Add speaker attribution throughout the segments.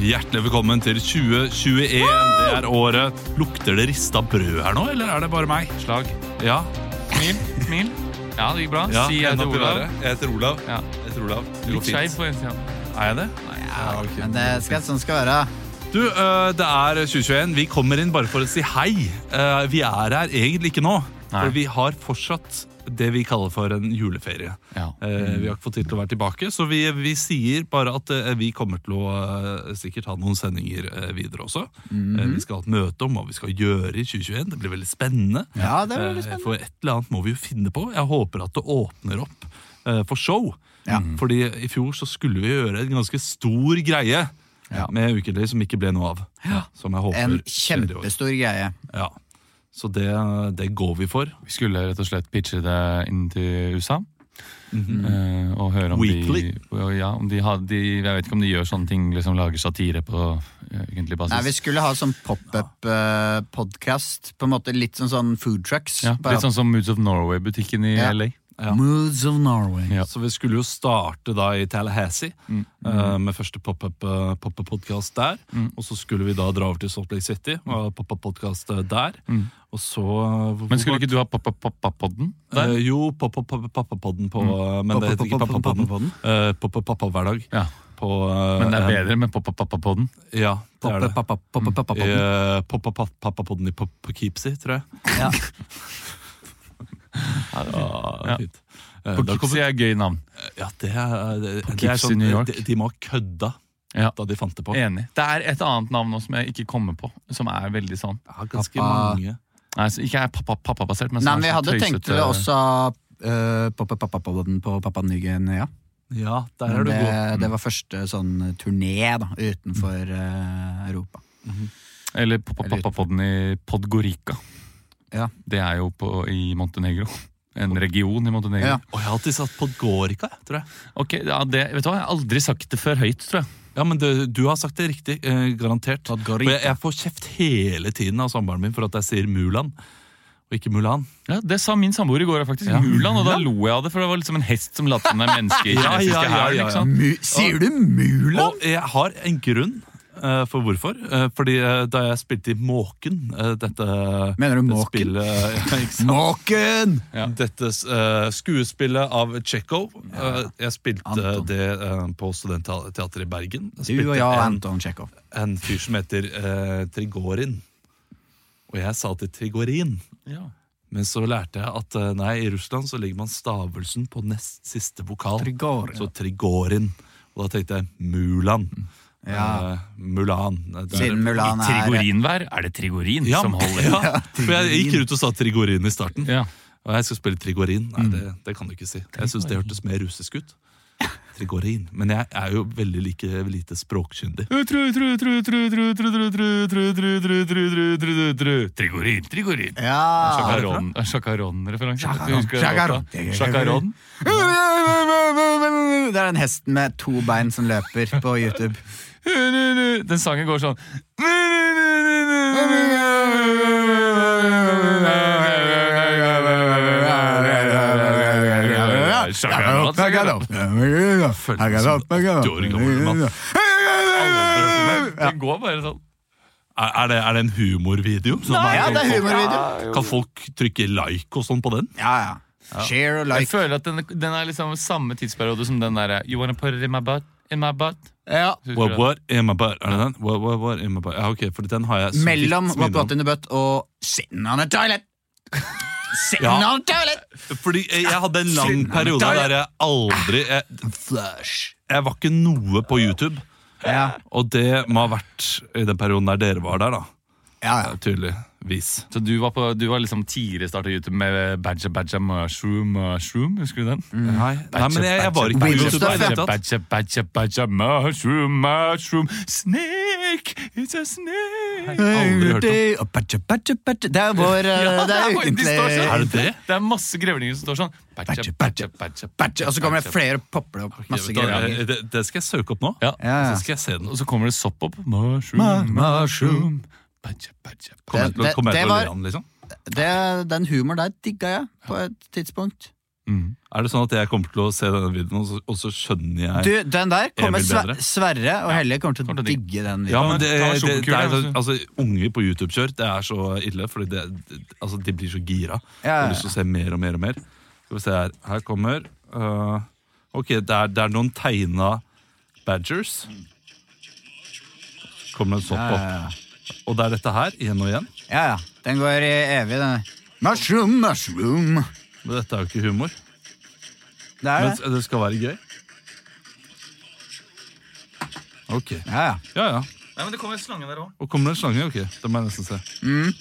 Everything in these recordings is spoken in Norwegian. Speaker 1: Hjertelig velkommen til 2021. Det er året. Lukter det rista brød her nå, eller er det bare meg?
Speaker 2: Slag.
Speaker 1: Ja.
Speaker 2: Smil. Smil. Ja, det gikk bra.
Speaker 1: Ja,
Speaker 2: si jeg
Speaker 1: hendene
Speaker 2: til
Speaker 1: opp i
Speaker 2: Olav.
Speaker 1: været. Jeg heter Olav.
Speaker 2: Ja.
Speaker 1: Jeg heter Olav. Det går
Speaker 2: Litt skeiv
Speaker 1: fint.
Speaker 2: på innsida.
Speaker 1: Er jeg det?
Speaker 3: Ja,
Speaker 1: ok.
Speaker 3: men det skal sånn skal være.
Speaker 1: Du, eh, det er 2021. Vi kommer inn bare for å si hei. Eh, Vi er her egentlig ikke nå,
Speaker 2: Nei.
Speaker 1: for vi har fortsatt det vi kaller for en juleferie.
Speaker 2: Ja.
Speaker 1: Eh, Vi har ikke fått tid til å være tilbake, så vi, vi sier bare at eh, vi kommer til å eh, sikkert ha noen sendinger eh, videre også.
Speaker 2: Mhm.
Speaker 1: Eh, Vi skal ha et møte om hva vi skal gjøre i 2021. Det blir veldig spennende.
Speaker 3: Ja, det liksom- sånn blir veldig
Speaker 1: Eh,
Speaker 3: spennende.
Speaker 1: For et eller annet må vi jo finne på. Jeg håper at det åpner opp eh, for show. Mm.
Speaker 3: Ja.
Speaker 1: Fordi i fjor så skulle vi gjøre en ganske stor greie
Speaker 3: Ja.
Speaker 1: med Ukentlig som ikke ble noe av. Som jeg håper
Speaker 3: En
Speaker 1: skjer i år.
Speaker 3: kjempestor greie.
Speaker 1: Ja. Så det, det går vi for.
Speaker 2: Vi skulle rett og slett pitche det inn til USA. eh, og høre om
Speaker 1: Mhm. Weekly.
Speaker 2: de Ja, om de hadde de, Jeg vet ikke om de gjør sånne ting, liksom lager satire på eh, ukentlig basis.
Speaker 3: Nei, Vi skulle ha sånn pop-up-podkast. På en måte Litt sånn, sånn food trucks.
Speaker 2: ja,
Speaker 3: bare
Speaker 2: litt sånn som Moods of Norway-butikken i
Speaker 3: Ja.
Speaker 2: LA.
Speaker 1: Ja.
Speaker 3: Moods of Norway.
Speaker 2: Ja.
Speaker 1: Så vi skulle jo starte da i Tallahassee eh, med første pop-up-podkast der. Og så skulle vi da dra over til Salt Lake City og ha pop-up-podkast der. Og så
Speaker 2: Men skulle ikke du ha Pappa-podden?
Speaker 1: Eh, jo, pappa-podden på
Speaker 2: Mm.
Speaker 1: eh, Men det heter ikke pappa-podden. Eh, Pappa-pappa hver dag.
Speaker 2: Ja,
Speaker 1: På,
Speaker 2: men det er
Speaker 1: eh,
Speaker 2: bedre med Pappa-podden.
Speaker 1: Ja, det er det.
Speaker 3: Pop-up-pop-up-pop-up-podden.
Speaker 1: Eh, Pappa-pappa-podden i Pop- på Keepsy, tror jeg.
Speaker 3: Ja.
Speaker 2: Ja, det er fint.
Speaker 1: Ja,
Speaker 2: Ja.
Speaker 1: fint. Eh,
Speaker 2: På
Speaker 1: da kommer-
Speaker 2: Kipsi er gøy navn.
Speaker 1: Ja, det er, det,
Speaker 2: På
Speaker 1: det er
Speaker 2: Keepsy
Speaker 1: sånn,
Speaker 2: New York.
Speaker 1: De, de må ha kødda
Speaker 2: Ja.
Speaker 1: da de fant det på.
Speaker 2: Enig. Det er et annet navn nå som jeg ikke kommer på, som er veldig sånn.
Speaker 1: Ja, ganske
Speaker 3: Pappa-
Speaker 1: mange.
Speaker 2: Nei, så ikke er pappa- pappa-basert,
Speaker 1: sånn
Speaker 2: men
Speaker 3: Nei,
Speaker 2: som er
Speaker 3: men vi
Speaker 2: så
Speaker 3: hadde tenkt
Speaker 2: tøysete-
Speaker 3: til også eh, pop-up-pop-up-podden på Pappa Nygenia.
Speaker 1: Ja, der er du
Speaker 3: Men det,
Speaker 1: god. Mm.
Speaker 3: det var første sånn turné da, utenfor eh, Europa.
Speaker 2: Eller pappa-podden i Podgorica.
Speaker 3: Ja.
Speaker 2: Det er jo på, i Montenegro. En region i Montenegro.
Speaker 3: Ja.
Speaker 1: Og jeg har alltid satt Podgorica, jeg, tror jeg.
Speaker 2: Ok, ja, det, vet du hva? Jeg har aldri sagt det før høyt, tror jeg.
Speaker 1: Ja, men du, du har sagt det riktig, eh, garantert. For jeg, jeg får kjeft hele tiden av samboeren min for at jeg sier Mulan, og ikke Mulan.
Speaker 2: Ja, Det sa min samboer i går, faktisk. Mulan, og da lo jeg av det, for det var liksom en hest som lot som det er menneske i
Speaker 1: Ja, ja,
Speaker 2: kinesiske
Speaker 1: ja, ja,
Speaker 2: hæren. ikke
Speaker 1: ja.
Speaker 2: sant?
Speaker 3: Mu Sier du Mulan?
Speaker 1: Og jeg har en grunn eh, for hvorfor. Eh, fordi eh, da jeg spilte i Måken, eh, dette
Speaker 3: Mener du
Speaker 1: det
Speaker 3: Måken?
Speaker 1: Spillet, ja, ikke sant?
Speaker 3: Måken!
Speaker 2: Ja.
Speaker 1: Dette eh, skuespillet av Tsjekho. eh, jeg spilte
Speaker 3: Anton.
Speaker 1: det eh, på Studentteatret i Bergen. Jeg
Speaker 3: Du og
Speaker 1: spilte
Speaker 3: jeg og
Speaker 1: en,
Speaker 3: Anton Tsjekhov.
Speaker 1: en fyr som heter eh, Trigorin. Og jeg sa til Trigorin.
Speaker 2: Ja.
Speaker 1: Men så lærte jeg at eh, nei, i Russland så legger man stavelsen på nest siste vokal.
Speaker 3: Trigorin.
Speaker 1: Så Trigorin. Og da tenkte jeg Mulan.
Speaker 3: Mm. Ja.
Speaker 1: Eh, Mulan. Eh, det er-
Speaker 3: Siden Mulan
Speaker 2: I
Speaker 3: er
Speaker 2: trigorinvær er det trigorin
Speaker 1: ja,
Speaker 2: som holder.
Speaker 1: ja, for jeg gikk ut og sa Trigorin i starten.
Speaker 2: Ja.
Speaker 1: Og jeg skal spille Trigorin.
Speaker 3: Mm.
Speaker 1: Nei, det, det kan du ikke si. Jeg syns det hørtes mer russisk ut. Trigorin. Men jeg er jo veldig like lite språkkyndig.
Speaker 2: Trigorin, trigorin.
Speaker 3: Ja!
Speaker 2: Sjakaron- Sjakaron-referanse.
Speaker 3: Sjakaron.
Speaker 2: Husker du
Speaker 3: Sjakaron.
Speaker 2: låta? Sjakaron.
Speaker 3: Det er den hesten med to bein som løper på YouTube.
Speaker 2: Den sangen går sånn Sjakaron, sjakaron. Det går bare sånn.
Speaker 1: Er, er, det, er det en humorvideo? Sånn at
Speaker 3: Ja,
Speaker 1: man
Speaker 3: det er
Speaker 1: kan-
Speaker 3: humorvideo.
Speaker 1: Kan folk trykke like og sånn på den?
Speaker 3: Ja, ja. Share og
Speaker 2: Jeg
Speaker 3: like.
Speaker 2: føler at den, den er liksom samme tidsperiode som den derre You wanna put it in my butt? In my butt?
Speaker 3: Ja.
Speaker 2: Husker
Speaker 1: What,
Speaker 2: du det?
Speaker 1: what in my butt? Er det den? What, what, what in my butt? Ja, ok, for den har jeg så
Speaker 3: Mellom
Speaker 1: vidt
Speaker 3: What
Speaker 1: minne om.
Speaker 3: Got In The Butt og Sitting On A Toilet. Sitting
Speaker 1: Ja.
Speaker 3: On A Toilet!
Speaker 1: Fordi eh, jeg hadde en lang
Speaker 3: Siden-
Speaker 1: periode
Speaker 3: Da-
Speaker 1: der jeg aldri jeg,
Speaker 3: Flush.
Speaker 1: jeg var ikke noe på YouTube.
Speaker 3: Ja,
Speaker 1: Og det må ha vært i den perioden der dere var der, da.
Speaker 3: ja. ja.
Speaker 1: Tydeligvis.
Speaker 2: Så du var, på, du var liksom tidligere startet YouTube med Badja Badja Mushroom Mushroom? Husker du den?
Speaker 3: Mm.
Speaker 1: Nei, nei, men jeg, jeg var ikke på
Speaker 3: Badger,
Speaker 1: YouTube. da, i det
Speaker 3: badger,
Speaker 1: hele tatt.
Speaker 2: Badja Badja Badja Mushroom Mushroom Snake! It's a snake!
Speaker 1: Aldri hørt om.
Speaker 3: Og badja, badja, badja. Det er vår eh,
Speaker 2: Ja,
Speaker 3: Det er
Speaker 2: det er-
Speaker 3: ukentlig
Speaker 2: de står sånn.
Speaker 1: Er det det?
Speaker 2: Det er masse grevlinger som står sånn. Badja
Speaker 3: Badja,
Speaker 2: Badja
Speaker 3: badja,
Speaker 2: Badja
Speaker 3: badja. Og så kommer det flere og popper det opp. Masse
Speaker 1: Da,
Speaker 3: greier.
Speaker 1: eh, det, det skal jeg søke opp nå.
Speaker 2: Ja.
Speaker 3: Ja, ja.
Speaker 1: Så skal jeg se den.
Speaker 2: Og så kommer det sopp opp. Mushroom,
Speaker 3: Ma-
Speaker 2: mushroom. Badja Badja
Speaker 1: Kommer jeg til å-
Speaker 3: Det-
Speaker 1: kommer jeg
Speaker 3: det
Speaker 1: til å le
Speaker 3: var-
Speaker 1: av den, liksom?
Speaker 3: Det, den humoren der digga jeg på et tidspunkt.
Speaker 1: Er det sånn at jeg kommer til å se denne videoen, og så, og så skjønner jeg
Speaker 3: Du, den der kommer
Speaker 1: Emil
Speaker 3: Sve
Speaker 1: bedre.
Speaker 3: Sverre og Helle kommer til å
Speaker 2: kommer til å digge.
Speaker 3: digge den
Speaker 1: Ja,
Speaker 3: videoen.
Speaker 1: men det,
Speaker 2: Ta
Speaker 1: det, det er,
Speaker 2: sjokkule,
Speaker 1: altså, Unger på YouTube-kjør, det er så ille. Fordi det, det, altså, de blir så gira. Jeg
Speaker 3: Ja, ja,
Speaker 1: har lyst til å se mer og mer og mer. Skal vi se her. Her kommer øh, Ok, det er, det er noen tegna badgers. Kommer en sopp
Speaker 3: Ja, ja,
Speaker 1: opp. Og det er dette her, igjen og igjen.
Speaker 3: Ja, ja. Den går i evig, den der. Mushroom, mushroom.
Speaker 1: Men dette er jo ikke humor.
Speaker 3: Det er
Speaker 1: Men
Speaker 3: det.
Speaker 1: det skal være gøy. Ok.
Speaker 3: Ja, ja.
Speaker 1: Ja, ja.
Speaker 2: Nei, men Det kommer en slange der òg.
Speaker 1: Og kommer det en slange? Ok, det må jeg nesten se.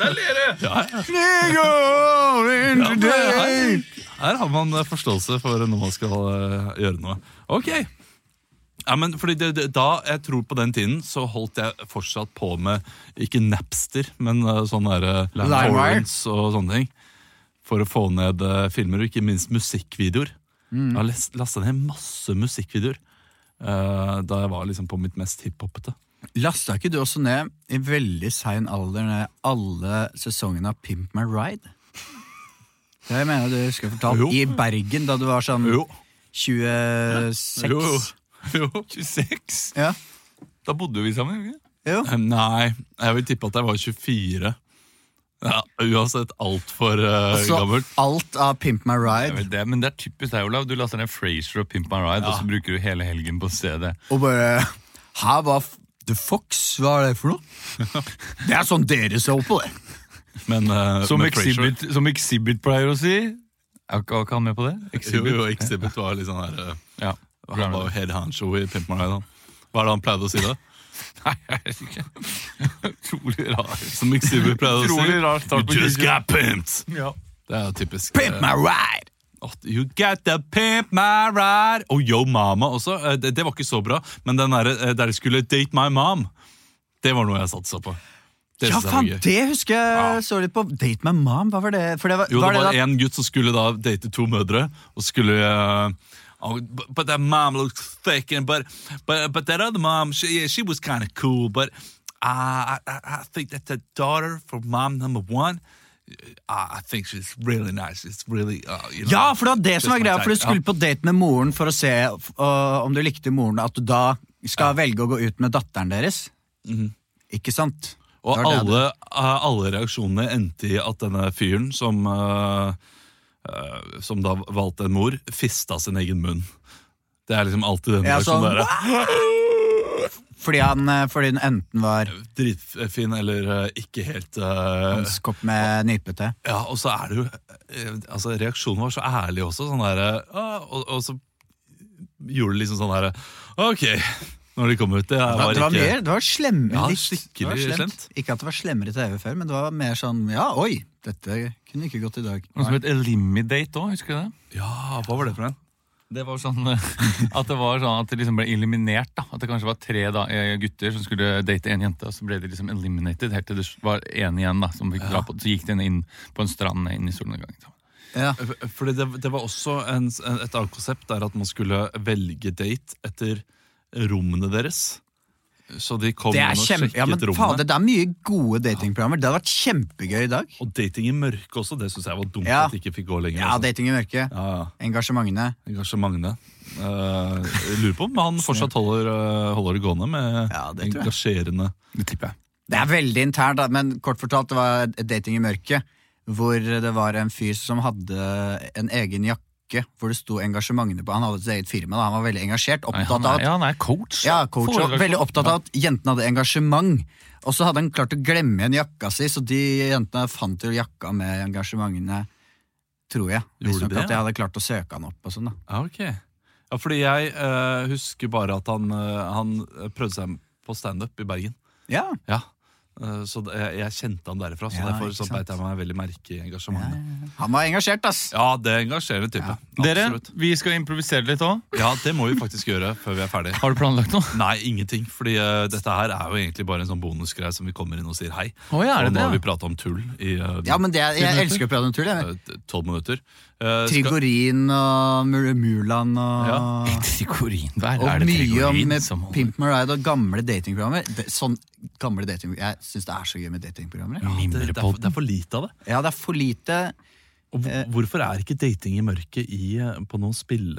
Speaker 2: Der ler jeg!
Speaker 3: Sneak over into day.
Speaker 1: Her, her har man eh, forståelse for når man skal eh, gjøre noe. Ok. Ja, men fordi det, det, Da jeg tror på den tiden, så holdt jeg fortsatt på med ikke Napster, men eh, sånne der, eh,
Speaker 3: Limewire.
Speaker 1: torrents og sånne ting. For å få ned eh, filmer, og ikke minst musikkvideoer. Jeg har lest- lasta ned masse musikkvideoer eh, da jeg var liksom på mitt mest hiphopete.
Speaker 3: Lasta ikke du også ned i veldig sein alder ned alle sesongene av Pimp My Ride? Det mener jeg du husker jeg fortalt.
Speaker 1: Jo.
Speaker 3: I Bergen, da du var sånn 26.
Speaker 1: Jo, jo. jo.
Speaker 2: 26?
Speaker 3: Ja.
Speaker 2: Da bodde jo vi sammen. ikke?
Speaker 3: Jo.
Speaker 1: Eh, Nei, jeg vil tippe at jeg var 24. Ja, uansett altfor uh,
Speaker 2: Altså,
Speaker 3: Så
Speaker 1: gammelt.
Speaker 3: alt av Pimp My
Speaker 2: Jeg
Speaker 3: Ride
Speaker 2: vet det, men det er typisk deg, Olav. Du laster ned Frasier og Pimp My Ride, og så bruker du hele helgen på å se det.
Speaker 3: og bare Her var f- The Fox, hva er det for noe? Det er sånn dere ser på det.
Speaker 1: Men, eh,
Speaker 2: Som
Speaker 1: men Frasier-
Speaker 2: Exhibit, som exhibit pleier å si. Er ikke er ikke han med på det?
Speaker 1: Jo,
Speaker 2: Exhibit.
Speaker 1: jo, Exhibit var litt sånn her eh,
Speaker 2: Ja.
Speaker 1: Han var jo head handshow i Pimp My Ride. han. Hva er det han pleide å si da?
Speaker 2: Nei, jeg vet ikke. Utrolig rar.
Speaker 1: Som Exhibit pleide å
Speaker 2: Utrolig rar
Speaker 1: si?
Speaker 2: start på
Speaker 1: You just
Speaker 2: krigen.
Speaker 1: got pimped!
Speaker 2: Ja.
Speaker 1: Det er jo typisk.
Speaker 3: Pimp My Ride!
Speaker 1: eh, at You got the pimp my ride! Og Yo Mama også. Eh, Det, det var ikke så bra, men den der, eh, der de skulle date my mom, det var noe jeg satsa på. Det
Speaker 3: Ja,
Speaker 1: synes jeg var
Speaker 3: faen,
Speaker 1: gøy.
Speaker 3: det husker jeg så litt på. Date My Mom, hva var det? For det var,
Speaker 1: Jo, det
Speaker 3: det
Speaker 1: var
Speaker 3: da-
Speaker 1: en gutt som skulle da date to mødre, og skulle eh, oh, but- But that mom looks thick, and but, but, but that other mom, she, yeah, she was kind of cool, but uh, I, I I think that the daughter for mom number one uh, I think she's really nice. It's really uh, you know,
Speaker 3: Ja, for det var det
Speaker 1: just
Speaker 3: som var
Speaker 1: my
Speaker 3: greia,
Speaker 1: type.
Speaker 3: for du skulle på date med moren for å se f- øh, om du likte moren, at du da skal velge å gå ut med datteren deres.
Speaker 1: Mhm.
Speaker 3: Ikke sant?
Speaker 1: Og
Speaker 3: Det var det
Speaker 1: alle, eh, alle reaksjonene endte i at denne fyren som, eh, eh, som da valgte en mor, fista sin egen munn. Det er liksom alltid den
Speaker 3: Ja,
Speaker 1: reaksjonen
Speaker 3: sånn,
Speaker 1: der.
Speaker 3: jeg- Fordi, han, øh, fordi den enten var
Speaker 1: Dritfin eller eh, ikke helt eh,
Speaker 3: hans kopp med nypete.
Speaker 1: Ja, og så er det jo eh, Altså, reaksjonen var så ærlig også. Sånn der, eh, og, og så gjorde det liksom sånn her Ok, når de kommer ut. Det
Speaker 3: Det
Speaker 1: var,
Speaker 3: var, det var
Speaker 1: ikke
Speaker 3: mer, det var slemme,
Speaker 1: Ja,
Speaker 3: litt-
Speaker 1: skikkelig
Speaker 3: det var
Speaker 1: slemt.
Speaker 3: Ikke at det var slemmere TV før, men det var mer sånn, ja, oi, dette kunne ikke gått i dag.
Speaker 2: Noe som het Eliminate òg, husker du det?
Speaker 1: Ja, hva var det for en?
Speaker 2: Det var sånn eh, At det var sånn at det liksom ble eliminert. da At det kanskje var tre da, eh, gutter som skulle date en jente, og så ble de liksom eliminated helt til det var én igjen da som fikk dra på. Så gikk den inn på en liksom. strand inn i solnedgangen. sammen.
Speaker 3: Ja.
Speaker 1: F- Fordi det, det var også en, en, et annet konsept der at man skulle velge date etter rommene deres. Så de kom
Speaker 3: Det
Speaker 1: inn
Speaker 3: er
Speaker 1: og
Speaker 3: kjempe...
Speaker 1: sjekket
Speaker 3: Ja, men
Speaker 1: rommene.
Speaker 3: faen, det er mye gode datingprogrammer. Det hadde vært kjempegøy i dag.
Speaker 1: Og dating i mørket også. Det syns jeg var dumt
Speaker 3: Ja.
Speaker 1: at det ikke fikk gå lenger.
Speaker 3: Ja,
Speaker 1: altså.
Speaker 3: dating i mørket.
Speaker 1: ja, ja.
Speaker 3: Engasjementene.
Speaker 1: Engasjementene. Uh, lurer på om han fortsatt holder, eh, holder det gående med
Speaker 3: Ja, det tror jeg.
Speaker 1: engasjerende
Speaker 2: Det tipper jeg.
Speaker 3: Det er veldig internt, da, men kort fortalt, det var et dating i mørket. Hvor det var en fyr som hadde en egen jakke hvor det sto engasjementene på. Han hadde sitt eget firma, da. han var veldig engasjert.
Speaker 2: Nei,
Speaker 3: Opptatt
Speaker 2: han, er,
Speaker 3: av at
Speaker 2: ja, han er coach.
Speaker 3: ja, coach, og
Speaker 2: Foredragsholder.
Speaker 3: veldig opptatt av at jentene hadde engasjement. Og så hadde han klart å glemme igjen jakka si, så de jentene fant jo jakka med engasjementene, tror jeg.
Speaker 1: Gjorde
Speaker 3: Visstnok
Speaker 1: de det,
Speaker 3: at jeg hadde klart å søke han opp og sånn, da.
Speaker 1: Ja, ok. Ja, fordi jeg eh, husker bare at han, eh, han prøvde seg på standup i Bergen.
Speaker 3: Ja,
Speaker 1: Ja. Eh, så det- jeg, jeg kjente han derfra, så
Speaker 3: Ja,
Speaker 1: derfor
Speaker 3: ikke
Speaker 1: så
Speaker 3: sant.
Speaker 1: beit jeg meg veldig merke i engasjementet.
Speaker 3: han var engasjert, ass!
Speaker 1: Ja, det er engasjerende type.
Speaker 2: Dere,
Speaker 1: Absolutt.
Speaker 2: vi skal improvisere litt òg.
Speaker 1: Ja, det må vi faktisk gjøre før vi er ferdig.
Speaker 2: Har du planlagt noe?
Speaker 1: Nei, ingenting. Fordi eh, dette her er jo egentlig bare en sånn bonusgreie som vi kommer inn og sier hei.
Speaker 2: Å, ja, er
Speaker 1: og
Speaker 2: det
Speaker 1: nå har
Speaker 2: det?
Speaker 1: vi prata om tull i eh,
Speaker 3: Ja, men det, jeg elsker å prate om tull. jeg.
Speaker 1: eh, tolv minutter. Eh, skal-
Speaker 3: Trigorin og Mul- Mulan og
Speaker 1: Ja.
Speaker 2: Trigorin. Hva er,
Speaker 3: Og
Speaker 2: er det
Speaker 3: mye om
Speaker 2: Trigorin
Speaker 3: med
Speaker 2: som holder?
Speaker 3: Pimp My Ride og gamle datingprogrammer. Det- Sånn gamle dating Jeg syns det er så gøy med datingprogrammer. jeg.
Speaker 1: det, det, er, for- det er for lite av det.
Speaker 3: Ja, det er for lite
Speaker 1: Og hvor- hvorfor er ikke dating i mørket i, eh, på noen spille...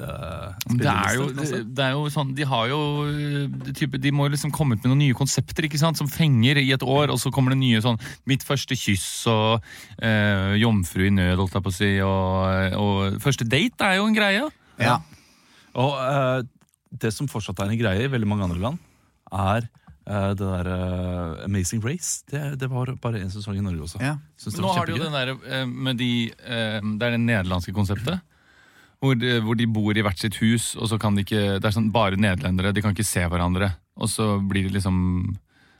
Speaker 2: Det er jo,
Speaker 1: spillelister, altså?
Speaker 2: det er jo sånn, De har jo eh, type, De må jo liksom komme ut med noen nye konsepter ikke sant, som fenger i et år, og så kommer det nye sånn 'Mitt første kyss' og eh, 'Jomfru i nød', holdt jeg på å si. Og, og 'Første date' er jo en greie.
Speaker 3: Ja.
Speaker 1: Og eh, det som fortsatt er en greie i veldig mange andre land, er eh, det der eh, Amazing Race. Det, det var bare en sesong i Norge også.
Speaker 3: Ja.
Speaker 1: Synes det
Speaker 2: Men nå
Speaker 1: var
Speaker 2: har de jo
Speaker 1: kjempegøy.
Speaker 2: den der, eh, med de, eh, Det er det nederlandske konseptet. Hvor de, hvor de bor i hvert sitt hus, og så kan de ikke Det er sånn bare nederlendere, de kan ikke se hverandre. Og så blir det liksom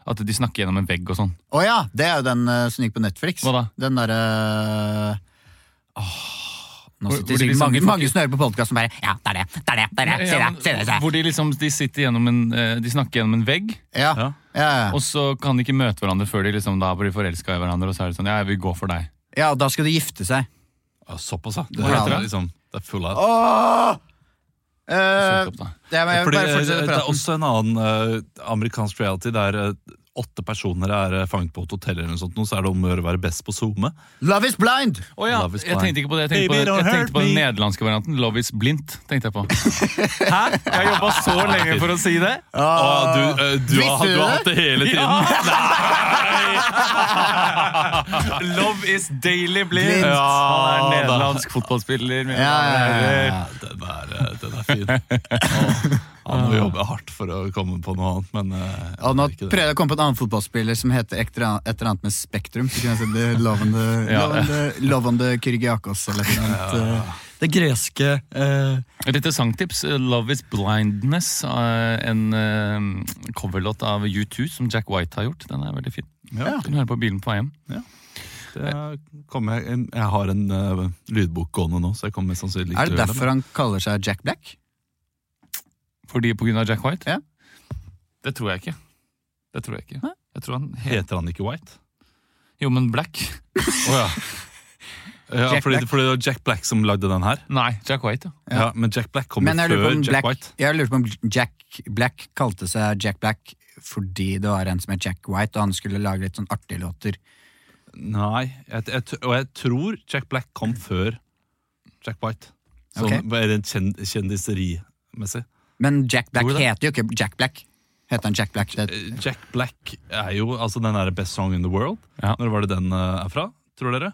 Speaker 2: At de snakker gjennom en vegg og sånn.
Speaker 3: Å ja! Det er jo den eh, som gikk på Netflix.
Speaker 2: Hva da?
Speaker 3: Den derre Nå
Speaker 2: Hvor-
Speaker 3: sitter
Speaker 2: hvor de
Speaker 3: sikkert
Speaker 2: liksom-
Speaker 3: mange, mange som hører på podkast som bare Ja, det er det! Det er det! det, er det se
Speaker 2: Ja,
Speaker 3: det,
Speaker 2: men
Speaker 3: se det, se det.
Speaker 2: Hvor de liksom de sitter gjennom en eh, De snakker gjennom en vegg,
Speaker 3: Ja.
Speaker 1: Ja.
Speaker 3: Ja, ja.
Speaker 2: og så kan de ikke møte hverandre før de liksom da blir forelska i hverandre. Og så er det sånn, ja, jeg vil gå for deg
Speaker 3: ja, og da skal de gifte seg.
Speaker 1: Ja, Såpass, ja. Det,
Speaker 2: Hva heter
Speaker 1: er
Speaker 2: det?
Speaker 1: liksom, det er full av
Speaker 3: Åh! Eh,
Speaker 2: Søk opp, da.
Speaker 3: det må jeg
Speaker 1: Fordi,
Speaker 3: bare
Speaker 1: eh, det
Speaker 3: fortsette
Speaker 1: er
Speaker 3: praten.
Speaker 1: også en annen eh, amerikansk reality der eh, åtte personer er eh, fanget på et hotell, eller noe sånt, nå, så er det om å gjøre å være best på SoMe.
Speaker 3: Love is blind!
Speaker 2: Å ja,
Speaker 1: Love is
Speaker 2: jeg
Speaker 1: blind.
Speaker 2: tenkte ikke på det. Jeg tenkte
Speaker 1: Baby,
Speaker 2: på,
Speaker 1: don't
Speaker 2: jeg
Speaker 1: hurt
Speaker 2: tenkte på den
Speaker 1: me.
Speaker 2: nederlandske varianten. Love is blindt, tenkte jeg på. Hæ? Jeg jobba så lenge for å si det!
Speaker 1: Å, du, eh, du, har,
Speaker 3: Ah. Visste du
Speaker 1: du har
Speaker 3: det?
Speaker 1: hatt det hele tiden!
Speaker 2: Love is daily
Speaker 3: Blindt.
Speaker 2: blindt! Ja, han er nederlandsk fotballspiller. mine
Speaker 3: Ja, ja,
Speaker 2: damer og
Speaker 3: ja,
Speaker 2: herrer.
Speaker 1: Ja, den er, eh, den er fin. Å, Han må jobbe hardt for å komme på noe annet, men eh,
Speaker 3: Og Ah. nå
Speaker 1: jeg gjør ikke det.
Speaker 3: prøvde jeg å komme på en annen fotballspiller som heter et eller annet- et eller annet med Spektrum. Så kunne jeg sett det Lovende,
Speaker 2: Ja.
Speaker 3: lovende, lovende Kyrgiakos eller et eller annet. eh, Det greske eh,
Speaker 2: Et lite sangtips. eh, 'Love Is Blindness', eh, en eh, coverlåt av U2 som Jack White har gjort. Den er veldig fin.
Speaker 1: Ja.
Speaker 2: Kan du høre på bilen på vei hjem.
Speaker 1: Det kommer jeg, jeg har en eh, lydbok gående nå, så jeg kommer sannsynligvis
Speaker 3: Er
Speaker 1: til
Speaker 3: det
Speaker 1: å gjøre
Speaker 3: derfor han kaller seg Jack Black?
Speaker 2: Fordi på grunn av Jack White?
Speaker 3: Ja.
Speaker 2: Det tror jeg ikke. Det tror jeg ikke. Jeg tror han
Speaker 1: men
Speaker 2: het
Speaker 1: Heter han ikke White?
Speaker 2: Jo, men Black?
Speaker 1: Å ja. Ja,
Speaker 3: Jack
Speaker 1: fordi,
Speaker 3: Black.
Speaker 1: fordi det var Jack Black som lagde den her.
Speaker 2: Nei, Jack White, ja.
Speaker 1: Ja, Men Jack Black kom jo
Speaker 3: Men jeg lurer på
Speaker 1: før
Speaker 3: om
Speaker 1: Jack
Speaker 3: Black,
Speaker 1: White.
Speaker 3: jeg lurer på om Jack Black kalte seg Jack Black fordi det var en som het Jack White, og han skulle lage litt sånn artige låter.
Speaker 1: Nei, jeg, jeg, t- og jeg tror Jack Black kom før Jack White. Sånn
Speaker 3: Ok.
Speaker 1: okay. kjen, kjendiserimessig.
Speaker 3: Men Jack Black
Speaker 1: Tror du det?
Speaker 3: heter jo ikke Jack Black. Heter han Jack Black? Det,
Speaker 1: Eh, Jack Black er jo altså den derre Best Song in the World.
Speaker 2: Ja.
Speaker 1: Når var det den eh, er fra, tror dere?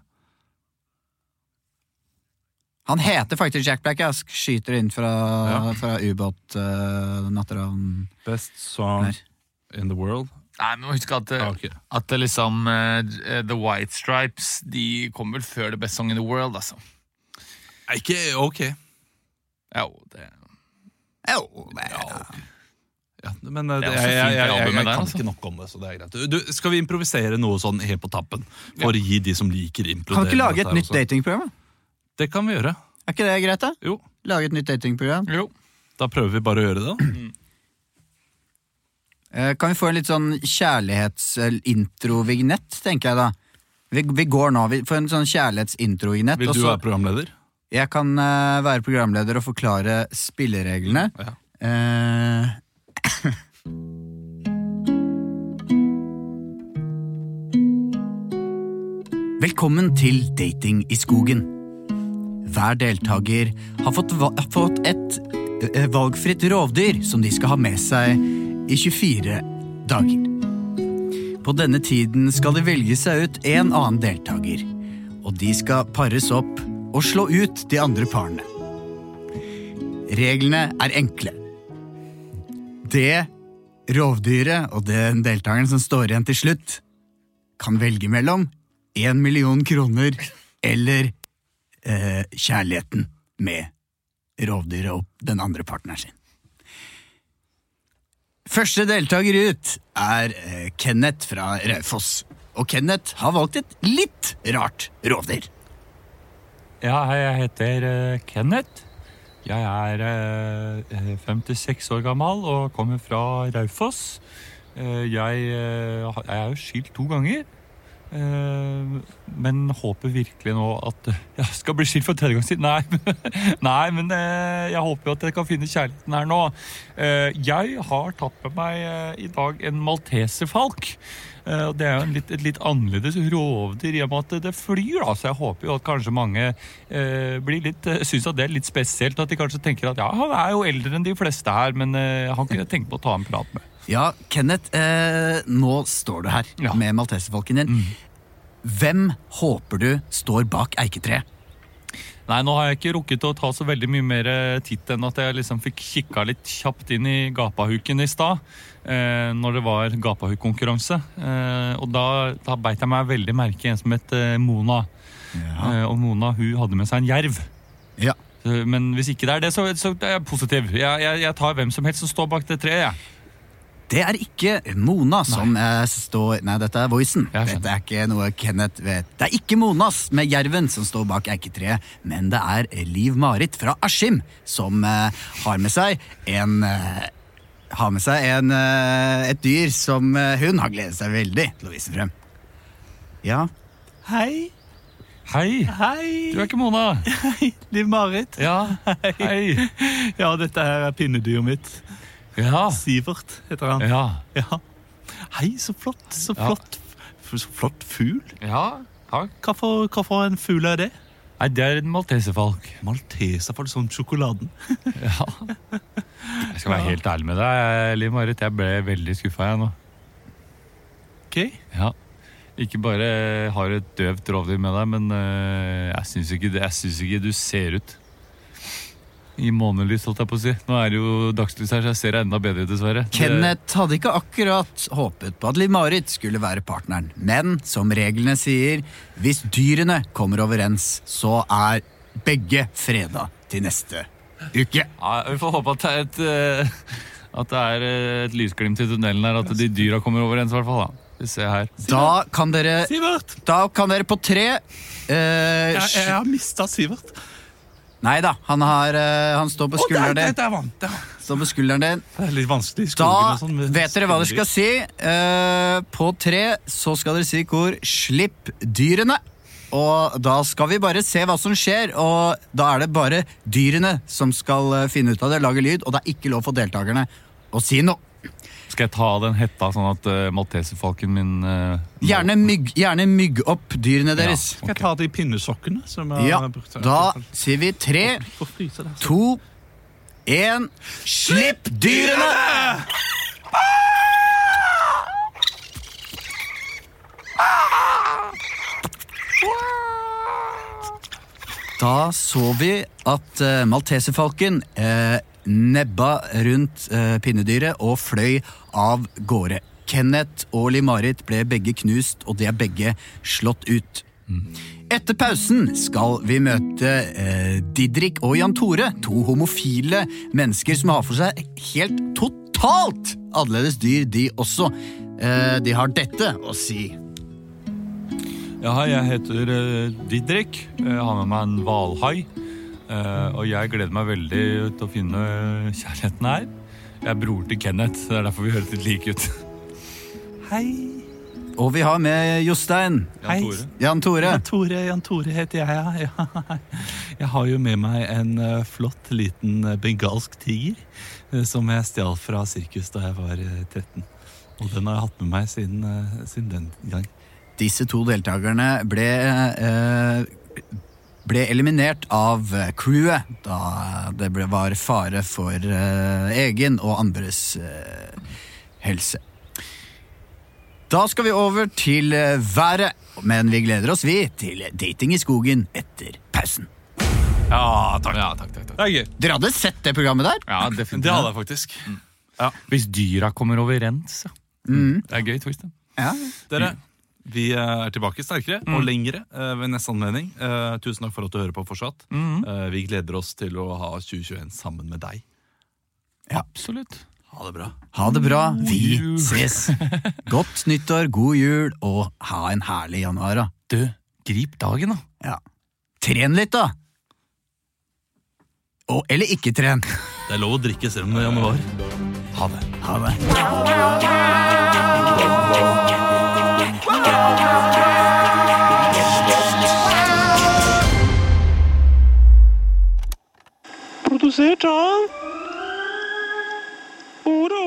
Speaker 3: han heter faktisk Jack Black. Jeg skyter inn fra,
Speaker 1: Ja.
Speaker 3: fra ubåt uh, natteravn.
Speaker 1: Best Song
Speaker 3: Nei.
Speaker 1: in the World.
Speaker 2: Nei, men husk at, eh,
Speaker 1: Ja, ok.
Speaker 2: at det liksom eh, The White Stripes De kom vel før The Best Song in the World, altså.
Speaker 1: Nei, Ikke ok.
Speaker 2: Jo, det
Speaker 3: Jo, det-
Speaker 1: Ja, men eh, det, jeg, jeg,
Speaker 2: Det er også fint å
Speaker 1: jeg, jeg,
Speaker 2: jobbe
Speaker 1: jeg,
Speaker 2: med der,
Speaker 1: kan
Speaker 2: altså.
Speaker 1: ikke nok om det, så det er greit. Du, skal vi improvisere noe sånn helt på tappen? For å gi de som liker
Speaker 3: Kan
Speaker 1: implodere
Speaker 3: vi ikke lage et
Speaker 1: dette her
Speaker 3: nytt
Speaker 1: også?
Speaker 3: datingprogram? da?
Speaker 1: Det kan vi gjøre.
Speaker 3: Er ikke det greit, da?
Speaker 1: Jo,
Speaker 3: Lage et nytt datingprogram.
Speaker 2: Jo.
Speaker 1: da prøver vi bare å gjøre det. da.
Speaker 3: Eh, Kan vi få en litt sånn kjærlighetsintrovignett, tenker jeg da. Vi, vi går nå, vi får en sånn kjærlighetsintrovignett.
Speaker 1: Vil
Speaker 3: og
Speaker 1: du
Speaker 3: så-
Speaker 1: være programleder?
Speaker 3: Jeg kan eh, være programleder og forklare spillereglene.
Speaker 1: Ja.
Speaker 3: Eh, Velkommen til Dating i skogen. Hver deltaker har fått, va- har fått et eh, valgfritt rovdyr som de skal ha med seg i 24 dager. På denne tiden skal det velge seg ut en annen deltaker, og de skal pares opp og slå ut de andre parene. Reglene er enkle. Det rovdyret og den deltakeren som står igjen til slutt, kan velge mellom én million kroner eller eh, kjærligheten med rovdyret og den andre partneren sin. Første deltaker ut er eh, Kenneth fra Raufoss. Og Kenneth har valgt et litt rart rovdyr.
Speaker 4: Ja, hei, jeg heter eh, Kenneth. Jeg er eh, eh, 56 år gammel og kommer fra Raufoss. Eh, jeg, eh, ha- jeg er jo skilt to ganger.
Speaker 2: Eh, men håper virkelig nå at eh, jeg skal bli skilt for tredje gang siden. Nei, nei men eh, jeg håper jo at jeg kan finne kjærligheten her nå. Eh, jeg har tatt med meg eh, i dag en malteserfalk. Eh, og det er jo en litt, et litt annerledes rovdyr i og med at det flyr, da. Så jeg håper jo at kanskje mange eh, blir litt, eh, syns at det er litt spesielt. At de kanskje tenker at ja, han er jo eldre enn de fleste her, men eh, han kunne jeg tenke på å ta en prat med.
Speaker 3: Ja, Kenneth, eh, nå står du her
Speaker 2: Ja.
Speaker 3: med malteserfalken din. Hvem håper du står bak eiketreet?
Speaker 2: Nei, nå har jeg ikke rukket å ta så veldig mye mer eh, titt enn at jeg liksom fikk kikka litt kjapt inn i gapahuken i stad. Eh, når det var gapahuk-konkurranse. Eh, og da, da beit jeg meg veldig merke i en som het eh, Mona. Eh, og Mona hun hadde med seg en jerv.
Speaker 3: Ja.
Speaker 2: Så- Men hvis ikke det er det, så, så er jeg positiv. Jeg, jeg, jeg tar hvem som helst som står bak det treet. jeg.
Speaker 3: Det er ikke Mona som eh, står Nei, dette er Voicen.
Speaker 2: Jeg skjønner.
Speaker 3: Dette er ikke noe Kenneth vet. Det er ikke Monas med jerven som står bak eiketreet, men det er Liv-Marit fra Askim som eh, har med seg en eh, har med seg en, eh, et dyr som eh, hun har gledet seg veldig til å vise frem. Ja,
Speaker 1: Hei.
Speaker 2: Hei! Du
Speaker 1: Hei.
Speaker 2: er ikke Mona!
Speaker 1: Liv Marit.
Speaker 2: Ja, hei!
Speaker 1: Ja, dette her er pinnedyret mitt.
Speaker 2: Ja.
Speaker 1: Sivert heter han.
Speaker 2: Ja.
Speaker 1: Ja. Hei, så flott. Så
Speaker 2: Ja.
Speaker 1: flott. F- Så flott fugl.
Speaker 2: ja. Takk.
Speaker 1: Hva for, hva for en fugl er det?
Speaker 2: Nei, det er en malteserfalk.
Speaker 1: Malteser, for det er sånn sjokoladen.
Speaker 2: Jeg skal være helt ærlig med deg, eh, Liv Marit. Jeg ble veldig skuffa jeg nå.
Speaker 1: Ok.
Speaker 2: Ja. Ikke bare har du et døvt rovdyr med deg, men øh, jeg syns ikke, det- jeg syns ikke du ser ut. I månelys, holdt jeg på å si. Nå er det jo dagslys her, så jeg ser enda bedre, dessverre. Det-
Speaker 3: Kenneth hadde ikke akkurat håpet på at Liv-Marit skulle være partneren, men som reglene sier, hvis dyrene kommer overens, så er begge freda til neste uke.
Speaker 2: Ja, vi får håpe at det er et, øh, at det er øh, et lysglimt i tunnelen her, at de dyra kommer overens, i hvert fall. da. Vi ser her.
Speaker 3: Da kan dere,
Speaker 1: Sivert!
Speaker 3: da kan dere på tre eh,
Speaker 1: Jeg, jeg
Speaker 3: sj-
Speaker 1: har mista Sivert.
Speaker 3: Nei da, han, har, eh, han står på
Speaker 1: Å, der,
Speaker 3: skulderen
Speaker 1: der,
Speaker 3: din.
Speaker 1: der var han! Der. var han.
Speaker 3: Står på skulderen din.
Speaker 1: Det er litt vanskelig i skogen
Speaker 3: Da
Speaker 1: og sånn. med
Speaker 3: vet dere hva dere skal
Speaker 1: skoger.
Speaker 3: si. Eh, på tre så skal dere si hvor 'slipp dyrene'. Og da skal vi bare se hva som skjer, og da er det bare dyrene som skal eh, finne ut av det, lage lyd, og det er ikke lov for deltakerne å si noe.
Speaker 2: Skal jeg ta av den hetta, sånn at øh, malteserfalken min øh, må-
Speaker 3: Gjerne mygg, gjerne mygg opp dyrene deres.
Speaker 1: Skal jeg ta de pinnesokkene som jeg
Speaker 3: Ja,
Speaker 1: har brukt? her?
Speaker 3: da sier vi tre,
Speaker 1: Får fryse der.
Speaker 3: to, én Slipp dyrene! Da så vi at eh, malteserfalken eh, nebba rundt eh, pinnedyret og fløy av gårde. Kenneth og Liv-Marit ble begge knust, og de er begge slått ut. Etter pausen skal vi møte eh, Didrik og Jan Tore, to homofile mennesker som har for seg helt totalt annerledes dyr, de også. Eh, de har dette å si.
Speaker 2: Ja, hei, jeg heter eh, Didrik. Jeg har med meg en hvalhai. Eh, og jeg gleder meg veldig til å finne kjærligheten her. Jeg er bror til Kenneth, det er derfor vi høres litt like ut.
Speaker 1: Hei.
Speaker 3: Og vi har med Jostein.
Speaker 1: Hei.
Speaker 2: Jan Tore.
Speaker 3: Jan Tore.
Speaker 1: Jan Tore, Jan Tore heter jeg, ja. ja. Jeg har jo med meg en eh, flott liten eh, bengalsk tiger eh, som jeg stjal fra sirkus da jeg var eh, 13. Og den har jeg hatt med meg siden, eh, siden den gang.
Speaker 3: Disse to deltakerne ble eh, ble eliminert av eh, crewet da det ble, var fare for eh, egen og andres eh, helse. Da skal vi over til eh, været, men vi gleder oss, vi, til Dating i skogen etter pausen.
Speaker 2: Ja, takk. Ja, takk, takk,
Speaker 1: Det er gøy.
Speaker 3: Dere hadde sett det programmet der?
Speaker 2: Ja, definitivt.
Speaker 1: jeg faktisk.
Speaker 2: Hvis dyra kommer overens, ja.
Speaker 3: Mm.
Speaker 2: Det er gøy twist. da.
Speaker 3: Ja.
Speaker 5: Dere, vi eh, er tilbake sterkere og lengre eh, ved neste anledning. Eh, Tusen takk for at du hører på fortsatt.
Speaker 2: Mm.
Speaker 5: Eh, Vi gleder oss til å ha 2021 sammen med deg.
Speaker 2: Absolutt.
Speaker 5: Ha det bra.
Speaker 3: Ha det bra. Vi
Speaker 2: jul.
Speaker 3: ses. Godt nyttår, god jul, og ha en herlig januar. da.
Speaker 2: Du, grip dagen, da.
Speaker 3: Ja. Tren litt, da! Og, eller ikke tren.
Speaker 5: Det er lov å drikke selv om det er januar.
Speaker 3: Ha det. Ha det.
Speaker 6: du ser, ta den. Ordet